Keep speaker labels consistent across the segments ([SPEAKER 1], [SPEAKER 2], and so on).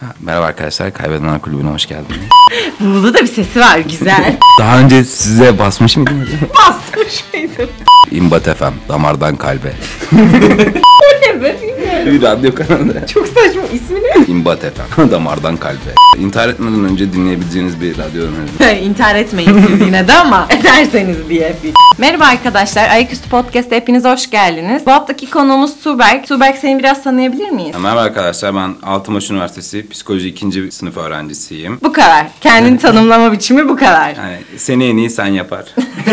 [SPEAKER 1] Ha, Merhaba arkadaşlar, Kaybedenler Kulübü'ne hoş geldiniz.
[SPEAKER 2] Bunun da bir sesi var güzel.
[SPEAKER 1] Daha önce size basmış mıydım?
[SPEAKER 2] Basmış mıydım?
[SPEAKER 1] İmbat FM, damardan kalbe.
[SPEAKER 2] Ne be, bilmiyorum.
[SPEAKER 1] Bir radyo kanalı.
[SPEAKER 2] Çok saçma ismi ne?
[SPEAKER 1] İmbat FM, damardan kalbe. İntihar etmeden önce dinleyebileceğiniz bir radyo önerisi.
[SPEAKER 2] İntihar etmeyin siz yine de ama ederseniz diye. bir- Merhaba arkadaşlar. Ayaküstü Podcast'a hepiniz hoş geldiniz. Bu haftaki konuğumuz Tuğberk. Tuğberk seni biraz tanıyabilir miyiz?
[SPEAKER 1] Merhaba arkadaşlar, ben Altınbaş Üniversitesi Psikoloji 2. sınıf öğrencisiyim.
[SPEAKER 2] Bu kadar. Kendini tanımlama biçimi bu kadar.
[SPEAKER 1] Yani seni en iyi sen yapar.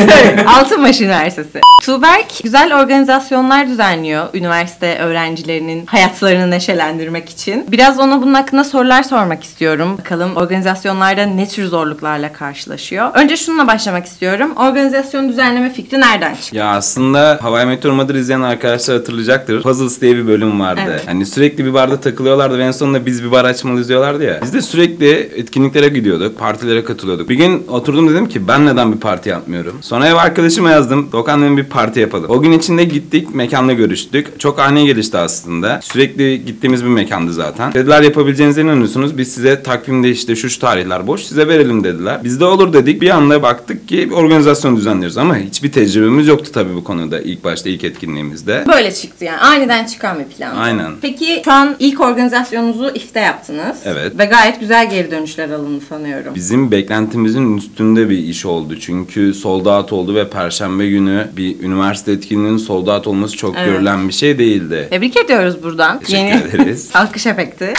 [SPEAKER 2] Altınbaş Üniversitesi. Tuğberk güzel organizasyonlar düzenliyor üniversite öğrencilerinin hayatlarını neşelendirmek için. Biraz ona bunun hakkında sorular sormak istiyorum. Bakalım organizasyonlarda ne tür zorluklarla karşılaşıyor. Önce şununla başlamak istiyorum. Organizasyon düzenleme fikri nereden çıktı?
[SPEAKER 1] Ya aslında Hawaii Meteor Mother izleyen arkadaşlar hatırlayacaktır. Puzzles diye bir bölüm vardı.
[SPEAKER 2] Evet.
[SPEAKER 1] Hani sürekli bir barda takılıyorlardı ve en sonunda biz bir bar açmalıyız diyorlardı ya. Biz de sürekli etkinliklere gidiyorduk, partilere katılıyorduk. Bir gün oturdum dedim ki ben neden bir parti yapmıyorum? Sonra ev arkadaşıma yazdım. Dokan dedim bir parti yapalım. O gün içinde gittik, mekanda görüştük. Çok ani gelişti aslında. Sürekli gittiğimiz bir mekandı zaten. Dediler yapabileceğinize inanıyorsunuz. Biz size takvimde işte şu şu tarihler boş size verelim dediler. Biz de olur dedik. Bir anda baktık ki bir organizasyon düzenliyoruz ama hiçbir tecrübemiz yoktu tabii bu konuda ilk başta ilk etkinliğimizde.
[SPEAKER 2] Böyle çıktı yani. Aniden çıkan bir plan.
[SPEAKER 1] Aynen.
[SPEAKER 2] Peki şu an ilk organizasyonunuzu ifte yaptınız.
[SPEAKER 1] Evet.
[SPEAKER 2] Ve gayet güzel geri dönüşler alındı sanıyorum.
[SPEAKER 1] Bizim beklentimizin üstünde bir iş oldu. Çünkü sold out oldu ve perşembe günü bir üniversite etkinliğinin sold out olması çok
[SPEAKER 2] Evet.
[SPEAKER 1] görülen bir şey değildi.
[SPEAKER 2] Tebrik ediyoruz buradan.
[SPEAKER 1] Teşekkür ederiz.
[SPEAKER 2] Alkış efekti.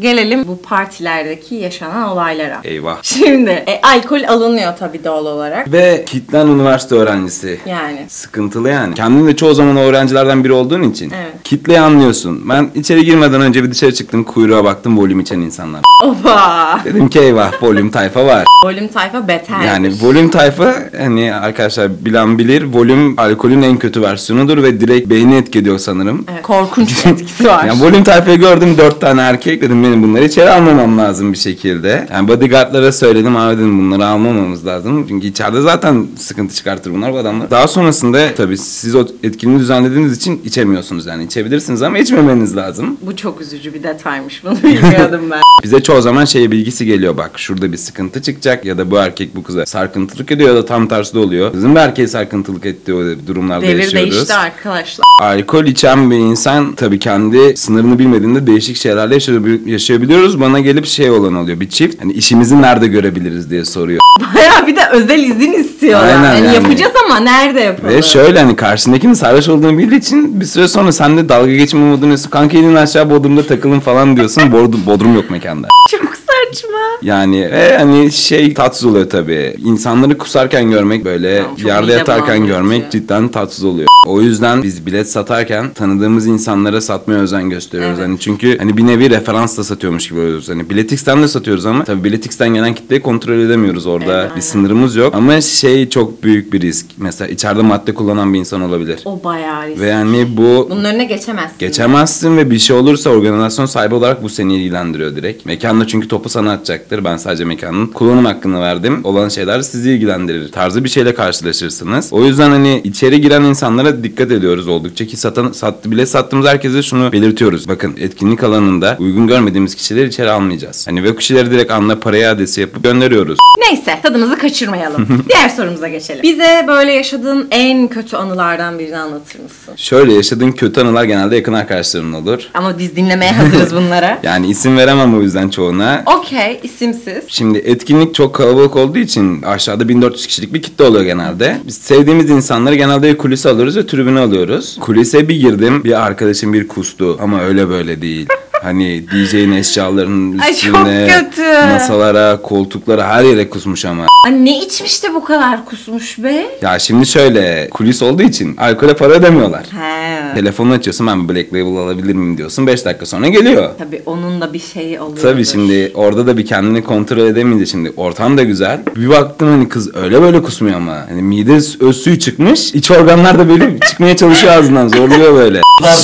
[SPEAKER 2] Gelelim bu partilerdeki yaşanan olaylara.
[SPEAKER 1] Eyvah.
[SPEAKER 2] Şimdi e, alkol alınıyor tabii doğal olarak.
[SPEAKER 1] Ve kitlen üniversite öğrencisi.
[SPEAKER 2] Yani.
[SPEAKER 1] Sıkıntılı yani. Kendin de çoğu zaman o öğrencilerden biri olduğun için
[SPEAKER 2] Evet.
[SPEAKER 1] kitleyi anlıyorsun. Ben içeri girmeden önce bir dışarı çıktım kuyruğa baktım volüm içen insanlar.
[SPEAKER 2] Oba!
[SPEAKER 1] Dedim ki eyvah volüm tayfa var.
[SPEAKER 2] Volüm tayfa beter.
[SPEAKER 1] Yani volüm tayfa hani arkadaşlar bilen bilir volüm alkolün en kötü versiyonudur ve direkt beyni etki ediyor sanırım.
[SPEAKER 2] Evet, korkunç bir etkisi var.
[SPEAKER 1] Yani volüm tayfayı gördüm dört tane erkek dedim benim bunları içeri almamam lazım bir şekilde. Yani bodyguardlara söyledim abi dedim bunları almamamız lazım. Çünkü içeride zaten sıkıntı çıkartır bunlar bu adamlar. Daha sonrasında tabii siz o etkinliği düzenlediğiniz için içemiyorsunuz yani içebilirsiniz ama içmemeniz lazım.
[SPEAKER 2] Bu çok üzücü bir detaymış. Bunu bilmiyordum ben.
[SPEAKER 1] Bize çoğu zaman şey bilgisi geliyor bak şurada bir sıkıntı çıkacak ya da bu erkek bu kıza sarkıntılık ediyor ya da tam tersi de oluyor. Kızın bir erkeğe sarkıntılık ettiği o durumlarda
[SPEAKER 2] Devir
[SPEAKER 1] yaşıyoruz.
[SPEAKER 2] değişti arkadaşlar.
[SPEAKER 1] Alkol içen bir insan tabii kendi sınırını bilmediğinde değişik şeylerle yaşa- yaşayabiliyoruz. Bana gelip şey olan oluyor bir çift hani işimizi nerede görebiliriz diye soruyor.
[SPEAKER 2] Baya bir de özel izin istiyorlar.
[SPEAKER 1] Aynen
[SPEAKER 2] yani,
[SPEAKER 1] yani.
[SPEAKER 2] yapacağız ama nerede yapalım?
[SPEAKER 1] Ve şöyle hani karşındakinin sarhoş olduğunu bildiği için bir süre sonra sen de dalga geçme moduna diyorsun. Kanka inin aşağı bodrumda takılın falan diyorsun. Bod- Bodrum yok mekanda.
[SPEAKER 2] Çok saçma.
[SPEAKER 1] Yani ve hani şey tatsız oluyor tabii. İnsanları kusarken görmek böyle
[SPEAKER 2] Çok
[SPEAKER 1] yerde
[SPEAKER 2] mide
[SPEAKER 1] yatarken
[SPEAKER 2] bulandırıcı.
[SPEAKER 1] görmek cidden tatsız oluyor. O yüzden biz bilet satarken tanıdığımız insanlara satmaya özen gösteriyoruz.
[SPEAKER 2] Evet.
[SPEAKER 1] Hani çünkü hani bir nevi referansla satıyormuş gibi oluyoruz. Hani biletix'ten de satıyoruz ama tabii biletix'ten gelen kitleyi kontrol edemiyoruz orada.
[SPEAKER 2] Evet,
[SPEAKER 1] bir
[SPEAKER 2] aynen.
[SPEAKER 1] sınırımız yok. Ama şey çok büyük bir risk. Mesela içeride madde kullanan bir insan olabilir.
[SPEAKER 2] O bayağı risk.
[SPEAKER 1] Ve yani bu
[SPEAKER 2] Bunun önüne geçemezsin.
[SPEAKER 1] Geçemezsin ve bir şey olursa organizasyon sahibi olarak bu seni ilgilendiriyor direkt. Mekanda çünkü topu sana atacaktır. Ben sadece mekanın kullanım hakkını verdim. Olan şeyler sizi ilgilendirir. Tarzı bir şeyle karşılaşırsınız. O yüzden hani içeri giren insanlara dikkat ediyoruz oldukça ki satan sattı bile sattığımız herkese şunu belirtiyoruz. Bakın etkinlik alanında uygun görmediğimiz kişileri içeri almayacağız. Hani ve o kişileri direkt anla paraya adresi yapıp gönderiyoruz.
[SPEAKER 2] Neyse tadımızı kaçırmayalım. Diğer sorumuza geçelim. Bize böyle yaşadığın en kötü anılardan birini anlatır mısın?
[SPEAKER 1] Şöyle yaşadığın kötü anılar genelde yakın arkadaşların olur.
[SPEAKER 2] Ama biz dinlemeye hazırız bunlara.
[SPEAKER 1] Yani isim veremem o yüzden çoğuna.
[SPEAKER 2] Okey isimsiz.
[SPEAKER 1] Şimdi etkinlik çok kalabalık olduğu için aşağıda 1400 kişilik bir kitle oluyor genelde. Biz sevdiğimiz insanları genelde ya kulise alıyoruz ya tribüne alıyoruz. Kulise bir girdim bir arkadaşım bir kustu ama öyle böyle değil. Hani DJ'in eşyalarının
[SPEAKER 2] Ay, çok
[SPEAKER 1] üstüne,
[SPEAKER 2] kötü.
[SPEAKER 1] masalara, koltuklara her yere kusmuş ama.
[SPEAKER 2] Ay ne içmiş de bu kadar kusmuş be?
[SPEAKER 1] Ya şimdi şöyle kulis olduğu için alkole para ödemiyorlar.
[SPEAKER 2] He.
[SPEAKER 1] Telefonu açıyorsun ben Black Label alabilir miyim diyorsun 5 dakika sonra geliyor.
[SPEAKER 2] Tabii onun da bir şeyi oluyor.
[SPEAKER 1] Tabii şimdi orada da bir kendini kontrol edemeyince şimdi ortam da güzel. Bir baktım hani kız öyle böyle kusmuyor ama. Hani mide öz suyu çıkmış. iç organlar
[SPEAKER 2] şey
[SPEAKER 1] da böyle çıkmaya çalışıyor ağzından zorluyor böyle.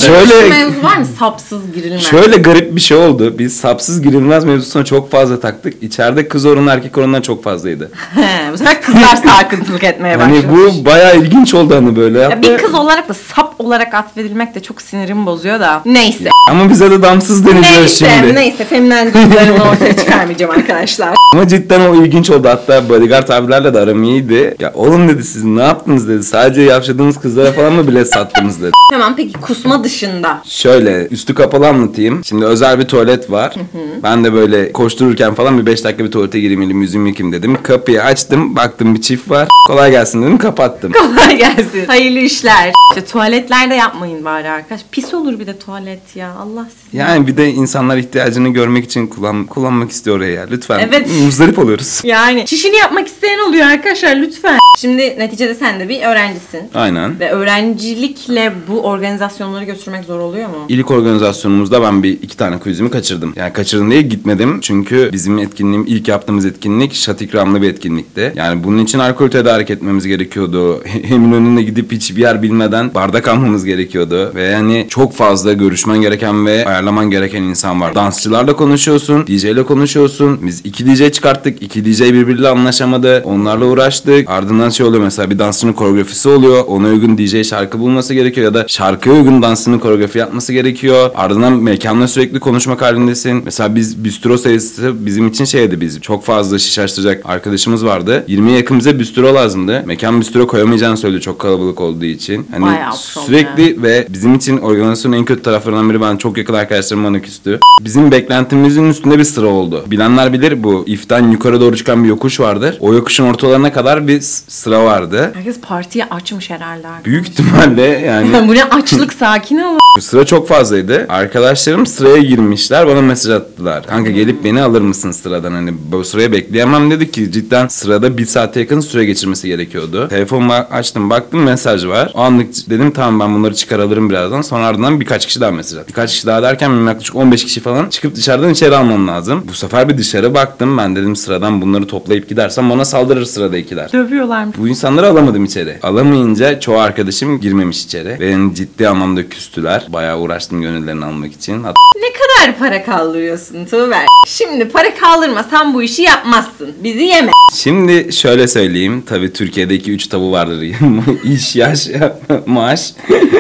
[SPEAKER 1] şöyle
[SPEAKER 2] Mevzu var mı? Sapsız girilmez.
[SPEAKER 1] şöyle garip bir şey oldu. Biz sapsız girilmez mevzusuna çok fazla taktık. İçeride kız oranı erkek oranından çok fazlaydı.
[SPEAKER 2] He, bu sefer kızlar sarkıntılık etmeye başlamış.
[SPEAKER 1] Hani bu bayağı ilginç oldu hani böyle.
[SPEAKER 2] Ya bir kız olarak da sap olarak atfedilmek de çok sinirimi bozuyor da. Neyse.
[SPEAKER 1] Ama bize de damsız deniliyor
[SPEAKER 2] Neyse,
[SPEAKER 1] şimdi.
[SPEAKER 2] neyse. Feminen duygularımı ortaya çıkarmayacağım arkadaşlar.
[SPEAKER 1] Ama cidden o ilginç oldu. Hatta bodyguard abilerle de aram iyiydi. Ya oğlum dedi siz ne yaptınız dedi. Sadece yavşadığınız kızlara falan mı bilet sattınız dedi.
[SPEAKER 2] Tamam peki kusma dışında.
[SPEAKER 1] Şöyle üstü kapalı anlatayım. Şimdi özel bir tuvalet var. Ben de böyle koştururken falan bir 5 dakika bir tuvalete gireyim elim yüzümü yıkayayım dedim. Kapıyı açtım baktım bir çift var. Kolay gelsin dedim kapattım.
[SPEAKER 2] Kolay gelsin. Hayırlı işler. İşte tuvaletlerde yapmayın bari arkadaş. Pis olur bir de tuvalet ya. Allah sizi.
[SPEAKER 1] Yani bir de insanlar ihtiyacını görmek için kullan kullanmak istiyor oraya ya. Lütfen.
[SPEAKER 2] Evet.
[SPEAKER 1] Muzdarip oluyoruz.
[SPEAKER 2] Yani çişini yapmak isteyen oluyor arkadaşlar lütfen. Şimdi neticede sen de bir öğrencisin.
[SPEAKER 1] Aynen.
[SPEAKER 2] Ve öğrencilikle bu organizasyonları götürmek zor oluyor mu?
[SPEAKER 1] İlk organizasyonumuzda ben bir iki tane quizimi kaçırdım. Yani kaçırdım diye gitmedim. Çünkü bizim etkinliğim ilk yaptığımız etkinlik şat ikramlı bir etkinlikti. Yani bunun için alkol tedarik etmemiz gerekiyordu. Hemin önüne gidip hiçbir yer bilmeden bardak almamız gerekiyordu. Ve yani çok fazla görüşmen gereken ve ayarlaman gereken insan var. Dansçılarla konuşuyorsun, DJ ile konuşuyorsun. Biz iki DJ çıkarttık. iki DJ birbiriyle anlaşamadı. Onlarla uğraştık. Ardından şey oluyor mesela bir dansçının koreografisi oluyor. Ona uygun DJ şarkı bulması gerekiyor ya da şarkıya uygun dansının koreografi yapması gerekiyor. Ardından mekanla sürekli konuşmak halindesin. Mesela biz bistro sayısı bizim için şeydi biz. Çok fazla şiş açtıracak arkadaşımız vardı. 20'ye yakın bize bistro lazımdı. Mekan bistro koyamayacağını söyledi çok kalabalık olduğu için. Hani
[SPEAKER 2] Bayağı sorun
[SPEAKER 1] sürekli ve bizim için organizasyonun en kötü taraflarından biri ben çok yakın arkadaşlarım bana küstü. Bizim beklentimizin üstünde bir sıra oldu. Bilenler bilir bu iften yukarı doğru çıkan bir yokuş vardır. O yokuşun ortalarına kadar bir s- sıra vardı.
[SPEAKER 2] Herkes partiyi açmış herhalde arkadaş.
[SPEAKER 1] Büyük ihtimalle yani
[SPEAKER 2] bu ne açlık sakin olun.
[SPEAKER 1] bu sıra çok fazlaydı. Arkadaşlarım sıraya girmişler bana mesaj attılar. Kanka gelip beni alır mısın sıradan hani bu sıraya bekleyemem dedi ki cidden sırada bir saate yakın süre geçirmesi gerekiyordu. Telefonumu açtım baktım mesaj var. O anlık dedim tamam ben bunları çıkar alırım birazdan. Sonra ardından birkaç kişi daha mesaj attı. Birkaç kişi daha derken benim yaklaşık 15 kişi falan çıkıp dışarıdan içeri almam lazım. Bu sefer bir dışarı baktım ben dedim sıradan bunları toplayıp gidersem bana saldırır sıradakiler.
[SPEAKER 2] Dövüyorlar mı?
[SPEAKER 1] Bu insanları alamadım içeri. Alamayınca çoğu arkadaşım girmemiş içeri. Ve yani ciddi anlamda küstüler. Bayağı uğraştım gönüllerini almak için. Hatta
[SPEAKER 2] Ne kadar para kaldırıyorsun Tuğber? Şimdi para kaldırmasan bu işi yapmazsın. Bizi yeme.
[SPEAKER 1] şimdi şöyle söyleyeyim. Tabii Türkiye'deki üç tabu vardır. İş, yaş, maaş.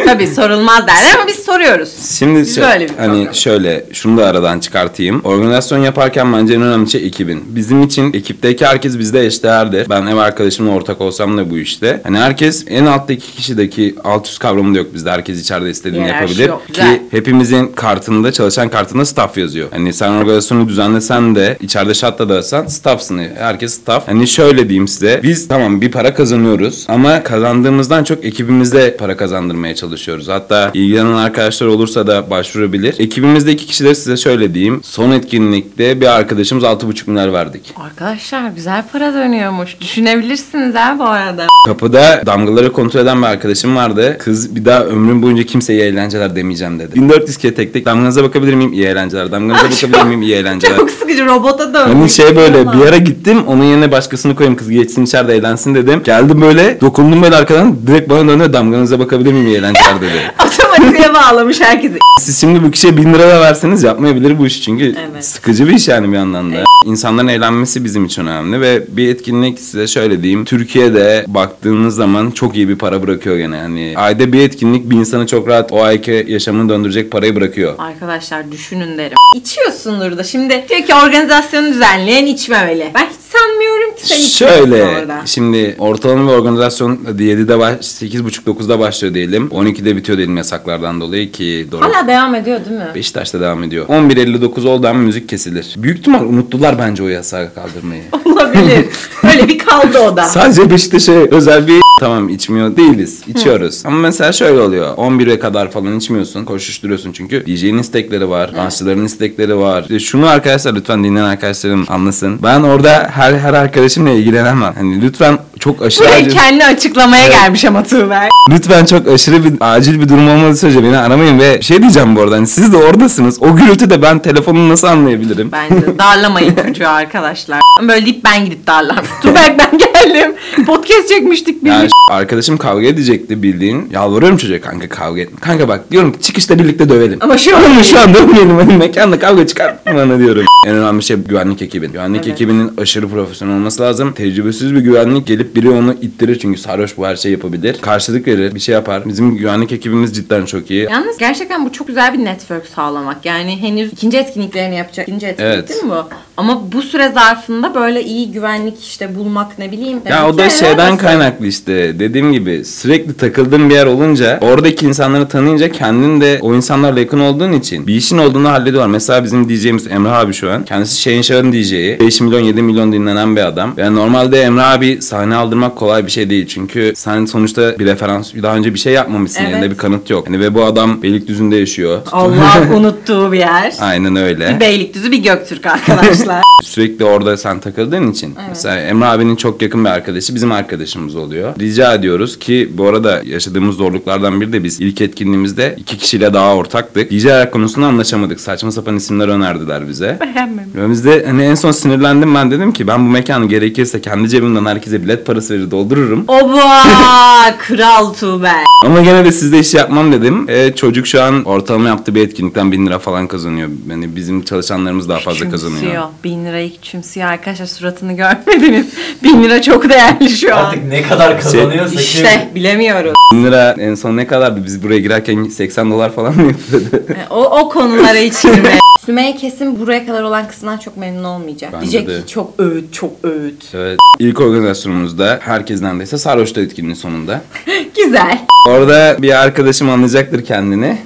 [SPEAKER 2] Tabii sorulmaz derler ama biz soruyoruz.
[SPEAKER 1] Şimdi
[SPEAKER 2] Biz
[SPEAKER 1] şö-
[SPEAKER 2] böyle bir
[SPEAKER 1] hani
[SPEAKER 2] program.
[SPEAKER 1] şöyle şunu da aradan çıkartayım. Organizasyon yaparken bence en önemli şey ekibin. Bizim için ekipteki herkes bizde eşdeğerdir. Ben ev arkadaşımla ortak olsam da bu işte. Hani herkes en alttaki kişideki alt üst kavramı da yok bizde. Herkes içeride istediğini
[SPEAKER 2] Hiyerarşi
[SPEAKER 1] yapabilir.
[SPEAKER 2] şey yok.
[SPEAKER 1] Ki
[SPEAKER 2] Güzel.
[SPEAKER 1] hepimizin kartında çalışan kartında staff yazıyor. Hani sen organizasyonu düzenlesen de içeride şatla da olsan staffsın. Herkes staff. Hani şöyle diyeyim size. Biz tamam bir para kazanıyoruz ama kazandığımızdan çok ekibimize para kazandırmaya çalışıyoruz. Hatta ilgilenen arkadaşlar olursa da başvurabilir. Ekibimizdeki kişiler size şöyle diyeyim. Son etkinlikte bir arkadaşımız 6,5 milyar verdik.
[SPEAKER 2] Arkadaşlar güzel para dönüyormuş. Düşünebilirsiniz ha bu arada.
[SPEAKER 1] Kapıda damgaları kontrol eden bir arkadaşım vardı. Kız bir daha ömrüm boyunca kimseye iyi eğlenceler demeyeceğim dedi. 1400 kere tek tek damganıza bakabilir miyim? İyi eğlenceler. Damganıza bakabilir miyim? İyi eğlenceler.
[SPEAKER 2] Çok sıkıcı robota dönmüş.
[SPEAKER 1] Hani şey böyle
[SPEAKER 2] Ama-
[SPEAKER 1] bir yere gittim onun yerine başkasını koyayım kız geçsin içeride eğlensin dedim. Geldim böyle dokundum böyle arkadan direkt bana döndü damganıza bakabilir miyim iyi eğlenceler dedi.
[SPEAKER 2] Otomatiğe bağlamış herkesi.
[SPEAKER 1] Siz şimdi bu kişiye bin lira da verseniz yapmayabilir bu işi çünkü
[SPEAKER 2] Evet.
[SPEAKER 1] sıkıcı bir iş yani bir yandan da. İnsanların eğlenmesi bizim için önemli ve bir etkinlik size şöyle diyeyim. Türkiye'de baktığınız zaman çok iyi bir para bırakıyor gene. Yani ayda bir etkinlik bir insanı çok rahat o ayki yaşamını döndürecek parayı bırakıyor.
[SPEAKER 2] Arkadaşlar düşünün derim. İçiyorsundur da şimdi diyor ki organizasyonu düzenleyen içmemeli. Ben hiç sanmıyorum ki sen içiyorsun
[SPEAKER 1] Şöyle
[SPEAKER 2] orada.
[SPEAKER 1] şimdi ortalama bir organizasyon hadi 7'de baş 8.30-9'da başlıyor diyelim. 12'de bitiyor diyelim yasaklardan dolayı ki doğru.
[SPEAKER 2] Hala devam ediyor değil mi?
[SPEAKER 1] Beşiktaş'ta devam ediyor. 11.59 oldu ama müzik kesilir. Büyük ihtimal unuttular bence o yasağı kaldırmayı.
[SPEAKER 2] Olabilir. Öyle bir kaldı o da.
[SPEAKER 1] Sadece Beşiktaş'a özel bir tamam içmiyor değiliz. içiyoruz. Ama mesela şöyle oluyor. 11'e kadar falan içmiyorsun. Koşuşturuyorsun çünkü. DJ'nin istekleri var. Dansçıların istekleri var. İşte şunu arkadaşlar lütfen dinleyen arkadaşlarım anlasın. Ben orada her her arkadaşımla ilgilenemem. Hani lütfen çok aşırı
[SPEAKER 2] Buraya
[SPEAKER 1] acil.
[SPEAKER 2] kendini açıklamaya gelmiş ama Tuğber.
[SPEAKER 1] Lütfen çok aşırı bir acil bir durum olmadığı sürece beni aramayın ve bir şey diyeceğim bu arada hani siz de oradasınız. O gürültü de ben telefonu nasıl anlayabilirim?
[SPEAKER 2] Bence darlamayın çocuğu arkadaşlar. Böyle deyip ben gidip darlam. Tuğberk ben geldim. Podcast çekmiştik
[SPEAKER 1] Yani
[SPEAKER 2] birlikte.
[SPEAKER 1] ş- arkadaşım kavga edecekti bildiğin. Yalvarıyorum çocuğa kanka kavga etme. Kanka bak diyorum ki çıkışta birlikte dövelim.
[SPEAKER 2] Ama şu an
[SPEAKER 1] Oğlum şu an dönmeyelim hani mekanda kavga çıkartma bana diyorum. En önemli şey güvenlik ekibin. Güvenlik
[SPEAKER 2] Evet.
[SPEAKER 1] ekibinin aşırı profesyonel olması lazım. Tecrübesiz bir güvenlik gelip biri onu ittirir çünkü sarhoş bu her şeyi yapabilir. Karşılık verir, bir şey yapar. Bizim güvenlik ekibimiz cidden çok iyi.
[SPEAKER 2] Yalnız gerçekten bu çok güzel bir network sağlamak. Yani henüz ikinci etkinliklerini yapacak. İkinci etkinlik
[SPEAKER 1] Evet.
[SPEAKER 2] değil mi bu? Ama bu süre zarfında böyle iyi güvenlik işte bulmak ne bileyim.
[SPEAKER 1] Ya o da
[SPEAKER 2] Ülkeler
[SPEAKER 1] şeyden
[SPEAKER 2] arası.
[SPEAKER 1] kaynaklı işte. Dediğim gibi sürekli takıldığın bir yer olunca oradaki insanları tanıyınca kendin de o insanlarla yakın olduğun için bir işin olduğunu hallediyorlar. Mesela bizim DJ'miz Emrah abi şu an. Kendisi Şehin Şah'ın DJ'i. 5 milyon 7 milyon dinlenen bir adam. Yani normalde Emrah abi sahne aldırmak kolay bir şey değil. Çünkü sen sonuçta bir referans daha önce bir şey yapmamışsın.
[SPEAKER 2] Evet.
[SPEAKER 1] Elinde bir kanıt yok. Hani ve bu adam Beylikdüzü'nde yaşıyor.
[SPEAKER 2] Allah unuttuğu bir yer.
[SPEAKER 1] Aynen öyle.
[SPEAKER 2] Bir Beylikdüzü bir Göktürk arkadaşlar.
[SPEAKER 1] Sürekli orada sen takıldığın için. Mesela Emre abinin çok yakın bir arkadaşı bizim arkadaşımız oluyor. Rica ediyoruz ki bu arada yaşadığımız zorluklardan biri de biz ilk etkinliğimizde iki kişiyle daha ortaktık. DJ ayak konusunda anlaşamadık. Saçma sapan isimler önerdiler bize.
[SPEAKER 2] Beğenmemiş.
[SPEAKER 1] Ve biz de hani en son sinirlendim ben dedim ki ben bu mekanı gerekirse kendi cebimden herkese bilet parası verir doldururum.
[SPEAKER 2] Oba kral Tuğber.
[SPEAKER 1] Ama gene de sizde iş yapmam dedim. E, çocuk şu an ortalama yaptığı bir etkinlikten bin lira falan kazanıyor. Yani bizim çalışanlarımız daha fazla kazanıyor.
[SPEAKER 2] Küçümsüyor. Bin lirayı küçümsüyor arkadaşlar suratını görmediniz. Bin lira çok değerli şu an.
[SPEAKER 3] Artık ne
[SPEAKER 1] Şey,
[SPEAKER 3] kadar kazanıyorsa kim-
[SPEAKER 2] İşte bilemiyoruz.
[SPEAKER 1] Bin lira en son ne kadardı? Biz buraya girerken 80 dolar falan mı yapıyordu?
[SPEAKER 2] E, O, o konulara hiç girme. Sümeyye kesin buraya kadar olan kısmından çok memnun olmayacak.
[SPEAKER 1] Bence
[SPEAKER 2] Diyecek
[SPEAKER 1] de.
[SPEAKER 2] ki çok öğüt, çok öğüt.
[SPEAKER 1] Evet. İlk organizasyonumuzda herkes neredeyse sarhoştu etkinliğin sonunda.
[SPEAKER 2] Güzel.
[SPEAKER 1] Orada bir arkadaşım anlayacaktır kendini.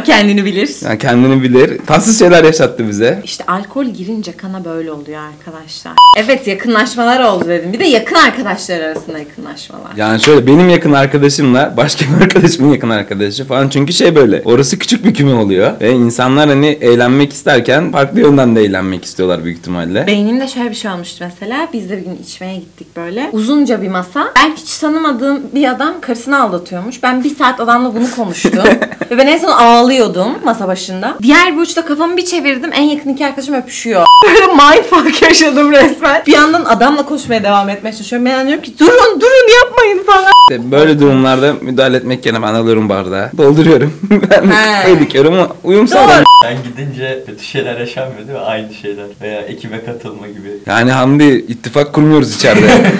[SPEAKER 2] O kendini bilir.
[SPEAKER 1] Yani kendini bilir. Tatsız şeyler yaşattı bize.
[SPEAKER 2] İşte alkol girince kana böyle oluyor arkadaşlar. Evet yakınlaşmalar oldu dedim. Bir de yakın arkadaşlar arasında yakınlaşmalar.
[SPEAKER 1] Yani şöyle benim yakın arkadaşımla başka bir arkadaşımın yakın arkadaşı falan. Çünkü şey böyle orası küçük bir küme oluyor. Ve insanlar hani eğlenmek isterken farklı yönden de eğlenmek istiyorlar büyük ihtimalle.
[SPEAKER 2] Beynimde şöyle bir şey olmuştu mesela. Biz de bir gün içmeye gittik böyle. Uzunca bir masa. Ben hiç tanımadığım bir adam karısını aldatıyormuş. Ben bir saat adamla bunu konuştum. Ve ben en son ağlıyordum masa başında. Diğer bir uçta kafamı bir çevirdim. En yakın iki arkadaşım öpüşüyor. Böyle mindfuck yaşadım resmen. Bir yandan adamla konuşmaya devam etmeye çalışıyorum. Ben diyorum ki durun durun yapmayın falan.
[SPEAKER 1] İşte böyle durumlarda müdahale etmek yerine ben alıyorum bardağı. Dolduruyorum. ben
[SPEAKER 2] Ha.
[SPEAKER 1] kafayı dikiyorum ama uyum sağlam.
[SPEAKER 2] Doğru.
[SPEAKER 3] Sen gidince kötü şeyler yaşanmıyor değil mi? Aynı şeyler. Veya ekibe katılma gibi.
[SPEAKER 1] Yani Hamdi ittifak kurmuyoruz içeride.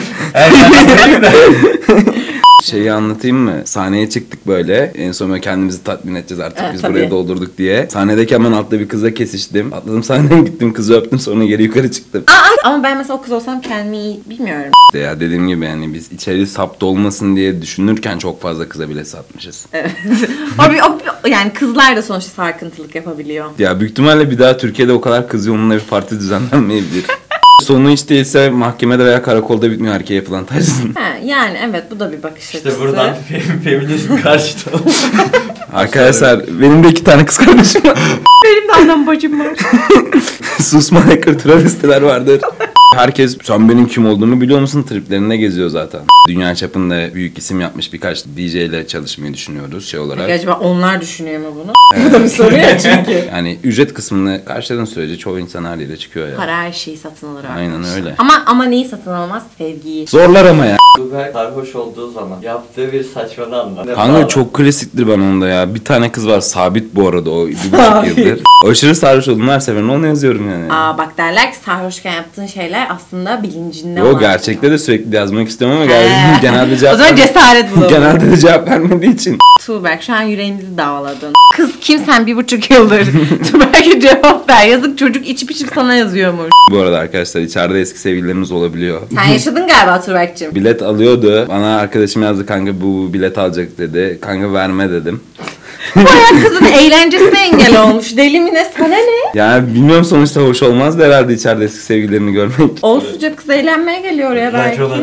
[SPEAKER 1] Şeyi anlatayım mı? Sahneye çıktık böyle. En son böyle kendimizi tatmin edeceğiz artık
[SPEAKER 2] Evet,
[SPEAKER 1] biz
[SPEAKER 2] tabii.
[SPEAKER 1] buraya doldurduk diye. Sahnedeki hemen altta bir kızla kesiştim. Atladım sahneden gittim kızı öptüm sonra geri yukarı çıktım.
[SPEAKER 2] Aa, ama ben mesela o kız olsam kendimi iyi bilmiyorum.
[SPEAKER 1] İşte ya dediğim gibi yani biz içeri sapta olmasın diye düşünürken çok fazla kıza bile satmışız.
[SPEAKER 2] Evet. Abi, abi, yani kızlar da sonuçta sarkıntılık yapabiliyor.
[SPEAKER 1] Ya büyük ihtimalle bir daha Türkiye'de o kadar kız yoğunluğunda bir parti düzenlenmeyebilir. Sonu hiç değilse mahkemede veya karakolda bitmiyor erkeğe yapılan tacizin.
[SPEAKER 2] Ha, yani evet bu da bir bakış
[SPEAKER 3] işte
[SPEAKER 2] açısı.
[SPEAKER 3] buradan fe- feminizm karşıtı oldu.
[SPEAKER 1] Arkadaşlar benim de iki tane kız kardeşim var.
[SPEAKER 2] Benim de annem bacım var.
[SPEAKER 1] Susma hacker travestiler vardır. Herkes sen benim kim olduğumu biliyor musun triplerinde geziyor zaten. Dünya çapında büyük isim yapmış birkaç DJ ile çalışmayı düşünüyoruz şey olarak.
[SPEAKER 2] Acaba onlar düşünüyor mu bunu? bu da bir soru ya çünkü.
[SPEAKER 1] Yani ücret kısmını karşıladığın sürece çoğu insan haliyle çıkıyor ya.
[SPEAKER 2] Para her şeyi satın alır arkadaşlar.
[SPEAKER 1] Aynen öyle.
[SPEAKER 2] Ama ama neyi satın almaz? Sevgiyi.
[SPEAKER 1] Zorlar ama ya.
[SPEAKER 3] Tuğberk sarhoş olduğu zaman yaptığı bir saçmalığı anlat. Ne
[SPEAKER 1] Kanka
[SPEAKER 3] sağlam.
[SPEAKER 1] çok klasiktir ben onda ya. Bir tane kız var sabit bu arada o bir buçuk
[SPEAKER 2] Sabit.
[SPEAKER 1] yıldır. Aşırı sarhoş oldum her seferinde onu yazıyorum yani.
[SPEAKER 2] Aa bak derler ki sarhoşken yaptığın şeyler aslında bilincinde
[SPEAKER 1] Yo
[SPEAKER 2] olan.
[SPEAKER 1] gerçekte de sürekli yazmak istemem ama
[SPEAKER 2] He.
[SPEAKER 1] gel- genelde
[SPEAKER 2] O
[SPEAKER 1] cevap
[SPEAKER 2] zaman
[SPEAKER 1] vermediği-
[SPEAKER 2] cesaret bulalım.
[SPEAKER 1] genelde de cevap vermediği için.
[SPEAKER 2] Tuğberk şu an yüreğimizi dağladın. Kız kim sen bir buçuk yıldır? Tuğberk'e cevap ver. Yazık çocuk içip içip sana yazıyormuş.
[SPEAKER 1] Bu arada arkadaşlar içeride eski sevgililerimiz olabiliyor.
[SPEAKER 2] Sen yaşadın galiba Tuğberk'cim.
[SPEAKER 1] Bilet alıyordu. Bana arkadaşım yazdı kanka bu bilet alacak dedi. Kanka verme dedim.
[SPEAKER 2] Bayağı kızın eğlencesine engel olmuş. Deli mi ne sana ne?
[SPEAKER 1] Yani bilmiyorum sonuçta hoş olmaz da herhalde içeride eski sevgililerini görmek.
[SPEAKER 2] Olsun canım kız eğlenmeye geliyor oraya belki.
[SPEAKER 3] Raconlar.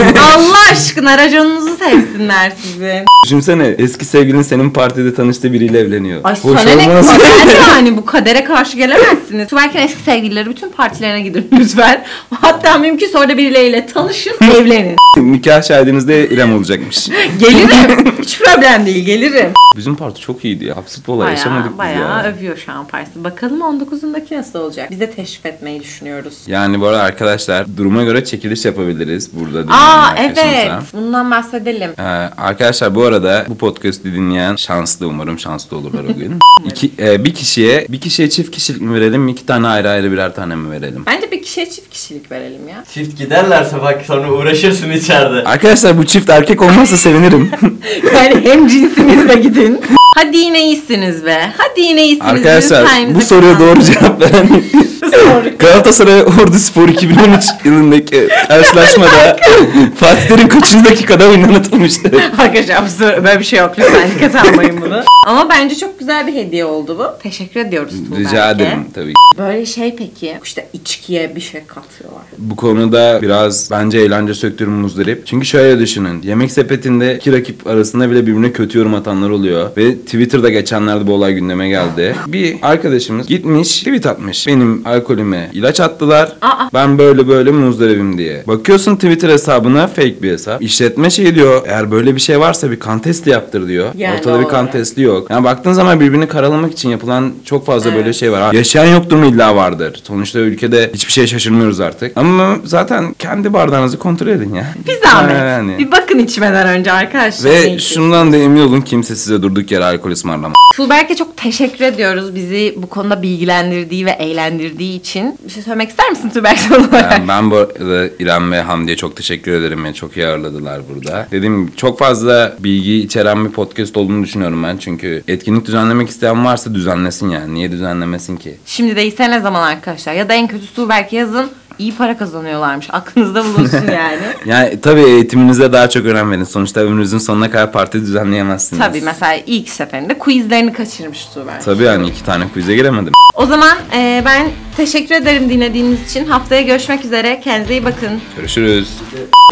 [SPEAKER 2] Allah aşkına raconunuzu sevsinler sizin.
[SPEAKER 1] Düşünsene eski sevgilin senin partide tanıştığı biriyle evleniyor.
[SPEAKER 2] Ay
[SPEAKER 1] hoş
[SPEAKER 2] sana ne
[SPEAKER 1] olmaz.
[SPEAKER 2] kader yani bu kadere karşı gelemezsiniz. Tüberken eski sevgilileri bütün partilerine gidin lütfen. Hatta mümkünse orada birileriyle tanışın, evlenin.
[SPEAKER 1] Nikah şahidiniz de İrem olacakmış.
[SPEAKER 2] Gelirim. Hiç problem değil gelirim.
[SPEAKER 1] Bizim parti çok iyiydi ya. Absürt olay yaşamadık
[SPEAKER 2] Bayağı,
[SPEAKER 1] biz
[SPEAKER 2] bayağı
[SPEAKER 1] ya.
[SPEAKER 2] övüyor şu an Paris'i. Bakalım 19'undaki nasıl olacak? Biz de teşvik etmeyi düşünüyoruz.
[SPEAKER 1] Yani bu arada arkadaşlar duruma göre çekiliş yapabiliriz burada.
[SPEAKER 2] Aa
[SPEAKER 1] dinleyen
[SPEAKER 2] evet.
[SPEAKER 1] arkadaşımıza.
[SPEAKER 2] Bundan bahsedelim.
[SPEAKER 1] Ee, arkadaşlar bu arada bu podcast'i dinleyen şanslı umarım şanslı olurlar o gün. İki, e, bir kişiye bir kişiye çift kişilik mi verelim iki tane ayrı ayrı birer tane mi verelim?
[SPEAKER 2] Bence bir kişiye çift kişilik verelim ya.
[SPEAKER 3] Çift giderlerse bak sonra uğraşırsın içeride.
[SPEAKER 1] Arkadaşlar bu çift erkek olmazsa sevinirim.
[SPEAKER 2] Yani hem cinsinizle gidin. Hadi yine iyisiniz be. Hadi yine iyisiniz.
[SPEAKER 1] Arkadaşlar
[SPEAKER 2] Lütfen
[SPEAKER 1] bu soruya
[SPEAKER 2] bize
[SPEAKER 1] doğru cevap veren
[SPEAKER 2] Sorry.
[SPEAKER 1] Galatasaray Ordu Spor 2013 yılındaki karşılaşmada Fatih Terim kaçıncı dakikada oynanatılmıştı?
[SPEAKER 2] Arkadaşlar bu soru- böyle bir şey yok. Lütfen dikkat almayın bunu. Ama bence çok güzel bir hediye oldu bu. Teşekkür ediyoruz Tuğberk'e.
[SPEAKER 1] Rica ederim tabii ki.
[SPEAKER 2] Böyle şey peki işte içkiye bir şey katıyorlar.
[SPEAKER 1] Bu konuda biraz bence eğlence sektörü muzdarip. Çünkü şöyle düşünün. Yemek sepetinde iki rakip arasında bile birbirine kötü yorum atanlar oluyor. Ve Twitter'da geçenlerde bu olay gündeme geldi. Bir arkadaşımız gitmiş tweet atmış. Benim alkolüme ilaç attılar.
[SPEAKER 2] Aa.
[SPEAKER 1] Ben böyle böyle muzdaribim diye. Bakıyorsun Twitter hesabına fake bir hesap. İşletme şey diyor. Eğer böyle bir şey varsa bir kan testi yaptır diyor.
[SPEAKER 2] Yani
[SPEAKER 1] Ortada bir
[SPEAKER 2] doğru.
[SPEAKER 1] kan testi yok. Yani baktığın zaman birbirini karalamak için yapılan çok fazla
[SPEAKER 2] Evet.
[SPEAKER 1] böyle şey var. Ha, Yaşayan yoktur mu illa vardır. Sonuçta ülkede hiçbir şeye şaşırmıyoruz artık. Ama zaten kendi bardağınızı kontrol edin ya.
[SPEAKER 2] Bir zahmet.
[SPEAKER 1] Yani.
[SPEAKER 2] Bir şey bakın içmeden önce arkadaşlar.
[SPEAKER 1] Ve
[SPEAKER 2] Neyse.
[SPEAKER 1] şundan da emin olun kimse size durduk yere alkol ısmarlamaz.
[SPEAKER 2] Tuğberk'e çok teşekkür ediyoruz bizi bu konuda bilgilendirdiği ve eğlendirdiği için. Bir şey söylemek ister misin Tuğberk son olarak?
[SPEAKER 1] Yani ben bu arada İrem ve Hamdi'ye çok teşekkür ederim. Beni çok iyi ağırladılar burada. Dediğim gibi çok fazla bilgi içeren bir podcast olduğunu düşünüyorum ben. Çünkü etkinlik düzenlemek isteyen varsa düzenlesin yani. Niye düzenlemesin ki?
[SPEAKER 2] Şimdi değilse ne zaman arkadaşlar? Ya da en kötüsü Tuğberk yazın. iyi para kazanıyorlarmış. Aklınızda bulunsun yani.
[SPEAKER 1] Yani tabii eğitiminize daha çok önem verin. Sonuçta ömrünüzün sonuna kadar parti düzenleyemezsiniz.
[SPEAKER 2] Tabii mesela ilk seferinde quizlerini kaçırmış Tuğberk.
[SPEAKER 1] Tabii yani iki tane quiz'e giremedim.
[SPEAKER 2] O zaman e, ben teşekkür ederim dinlediğiniz için. Haftaya görüşmek üzere. Kendinize iyi bakın.
[SPEAKER 1] Görüşürüz.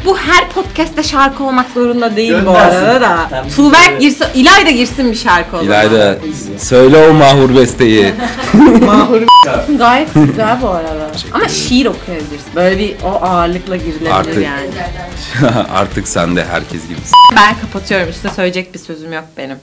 [SPEAKER 2] Bu her podcast'te şarkı olmak zorunda değil bu
[SPEAKER 3] Göndersin.
[SPEAKER 2] arada da.
[SPEAKER 3] Tamam.
[SPEAKER 2] Tuğberk girsin, İlay da girsin bir şarkı o zaman.
[SPEAKER 1] İlayda söyle o mahur besteyi.
[SPEAKER 2] Gayet güzel bu arada. Ama şiir okuyabilirsin. Böyle bir o ağırlıkla girilebilir
[SPEAKER 1] Artık.
[SPEAKER 2] yani.
[SPEAKER 1] Artık sen de herkes gibisin.
[SPEAKER 2] Ben kapatıyorum. Üstüne söyleyecek bir sözüm yok benim.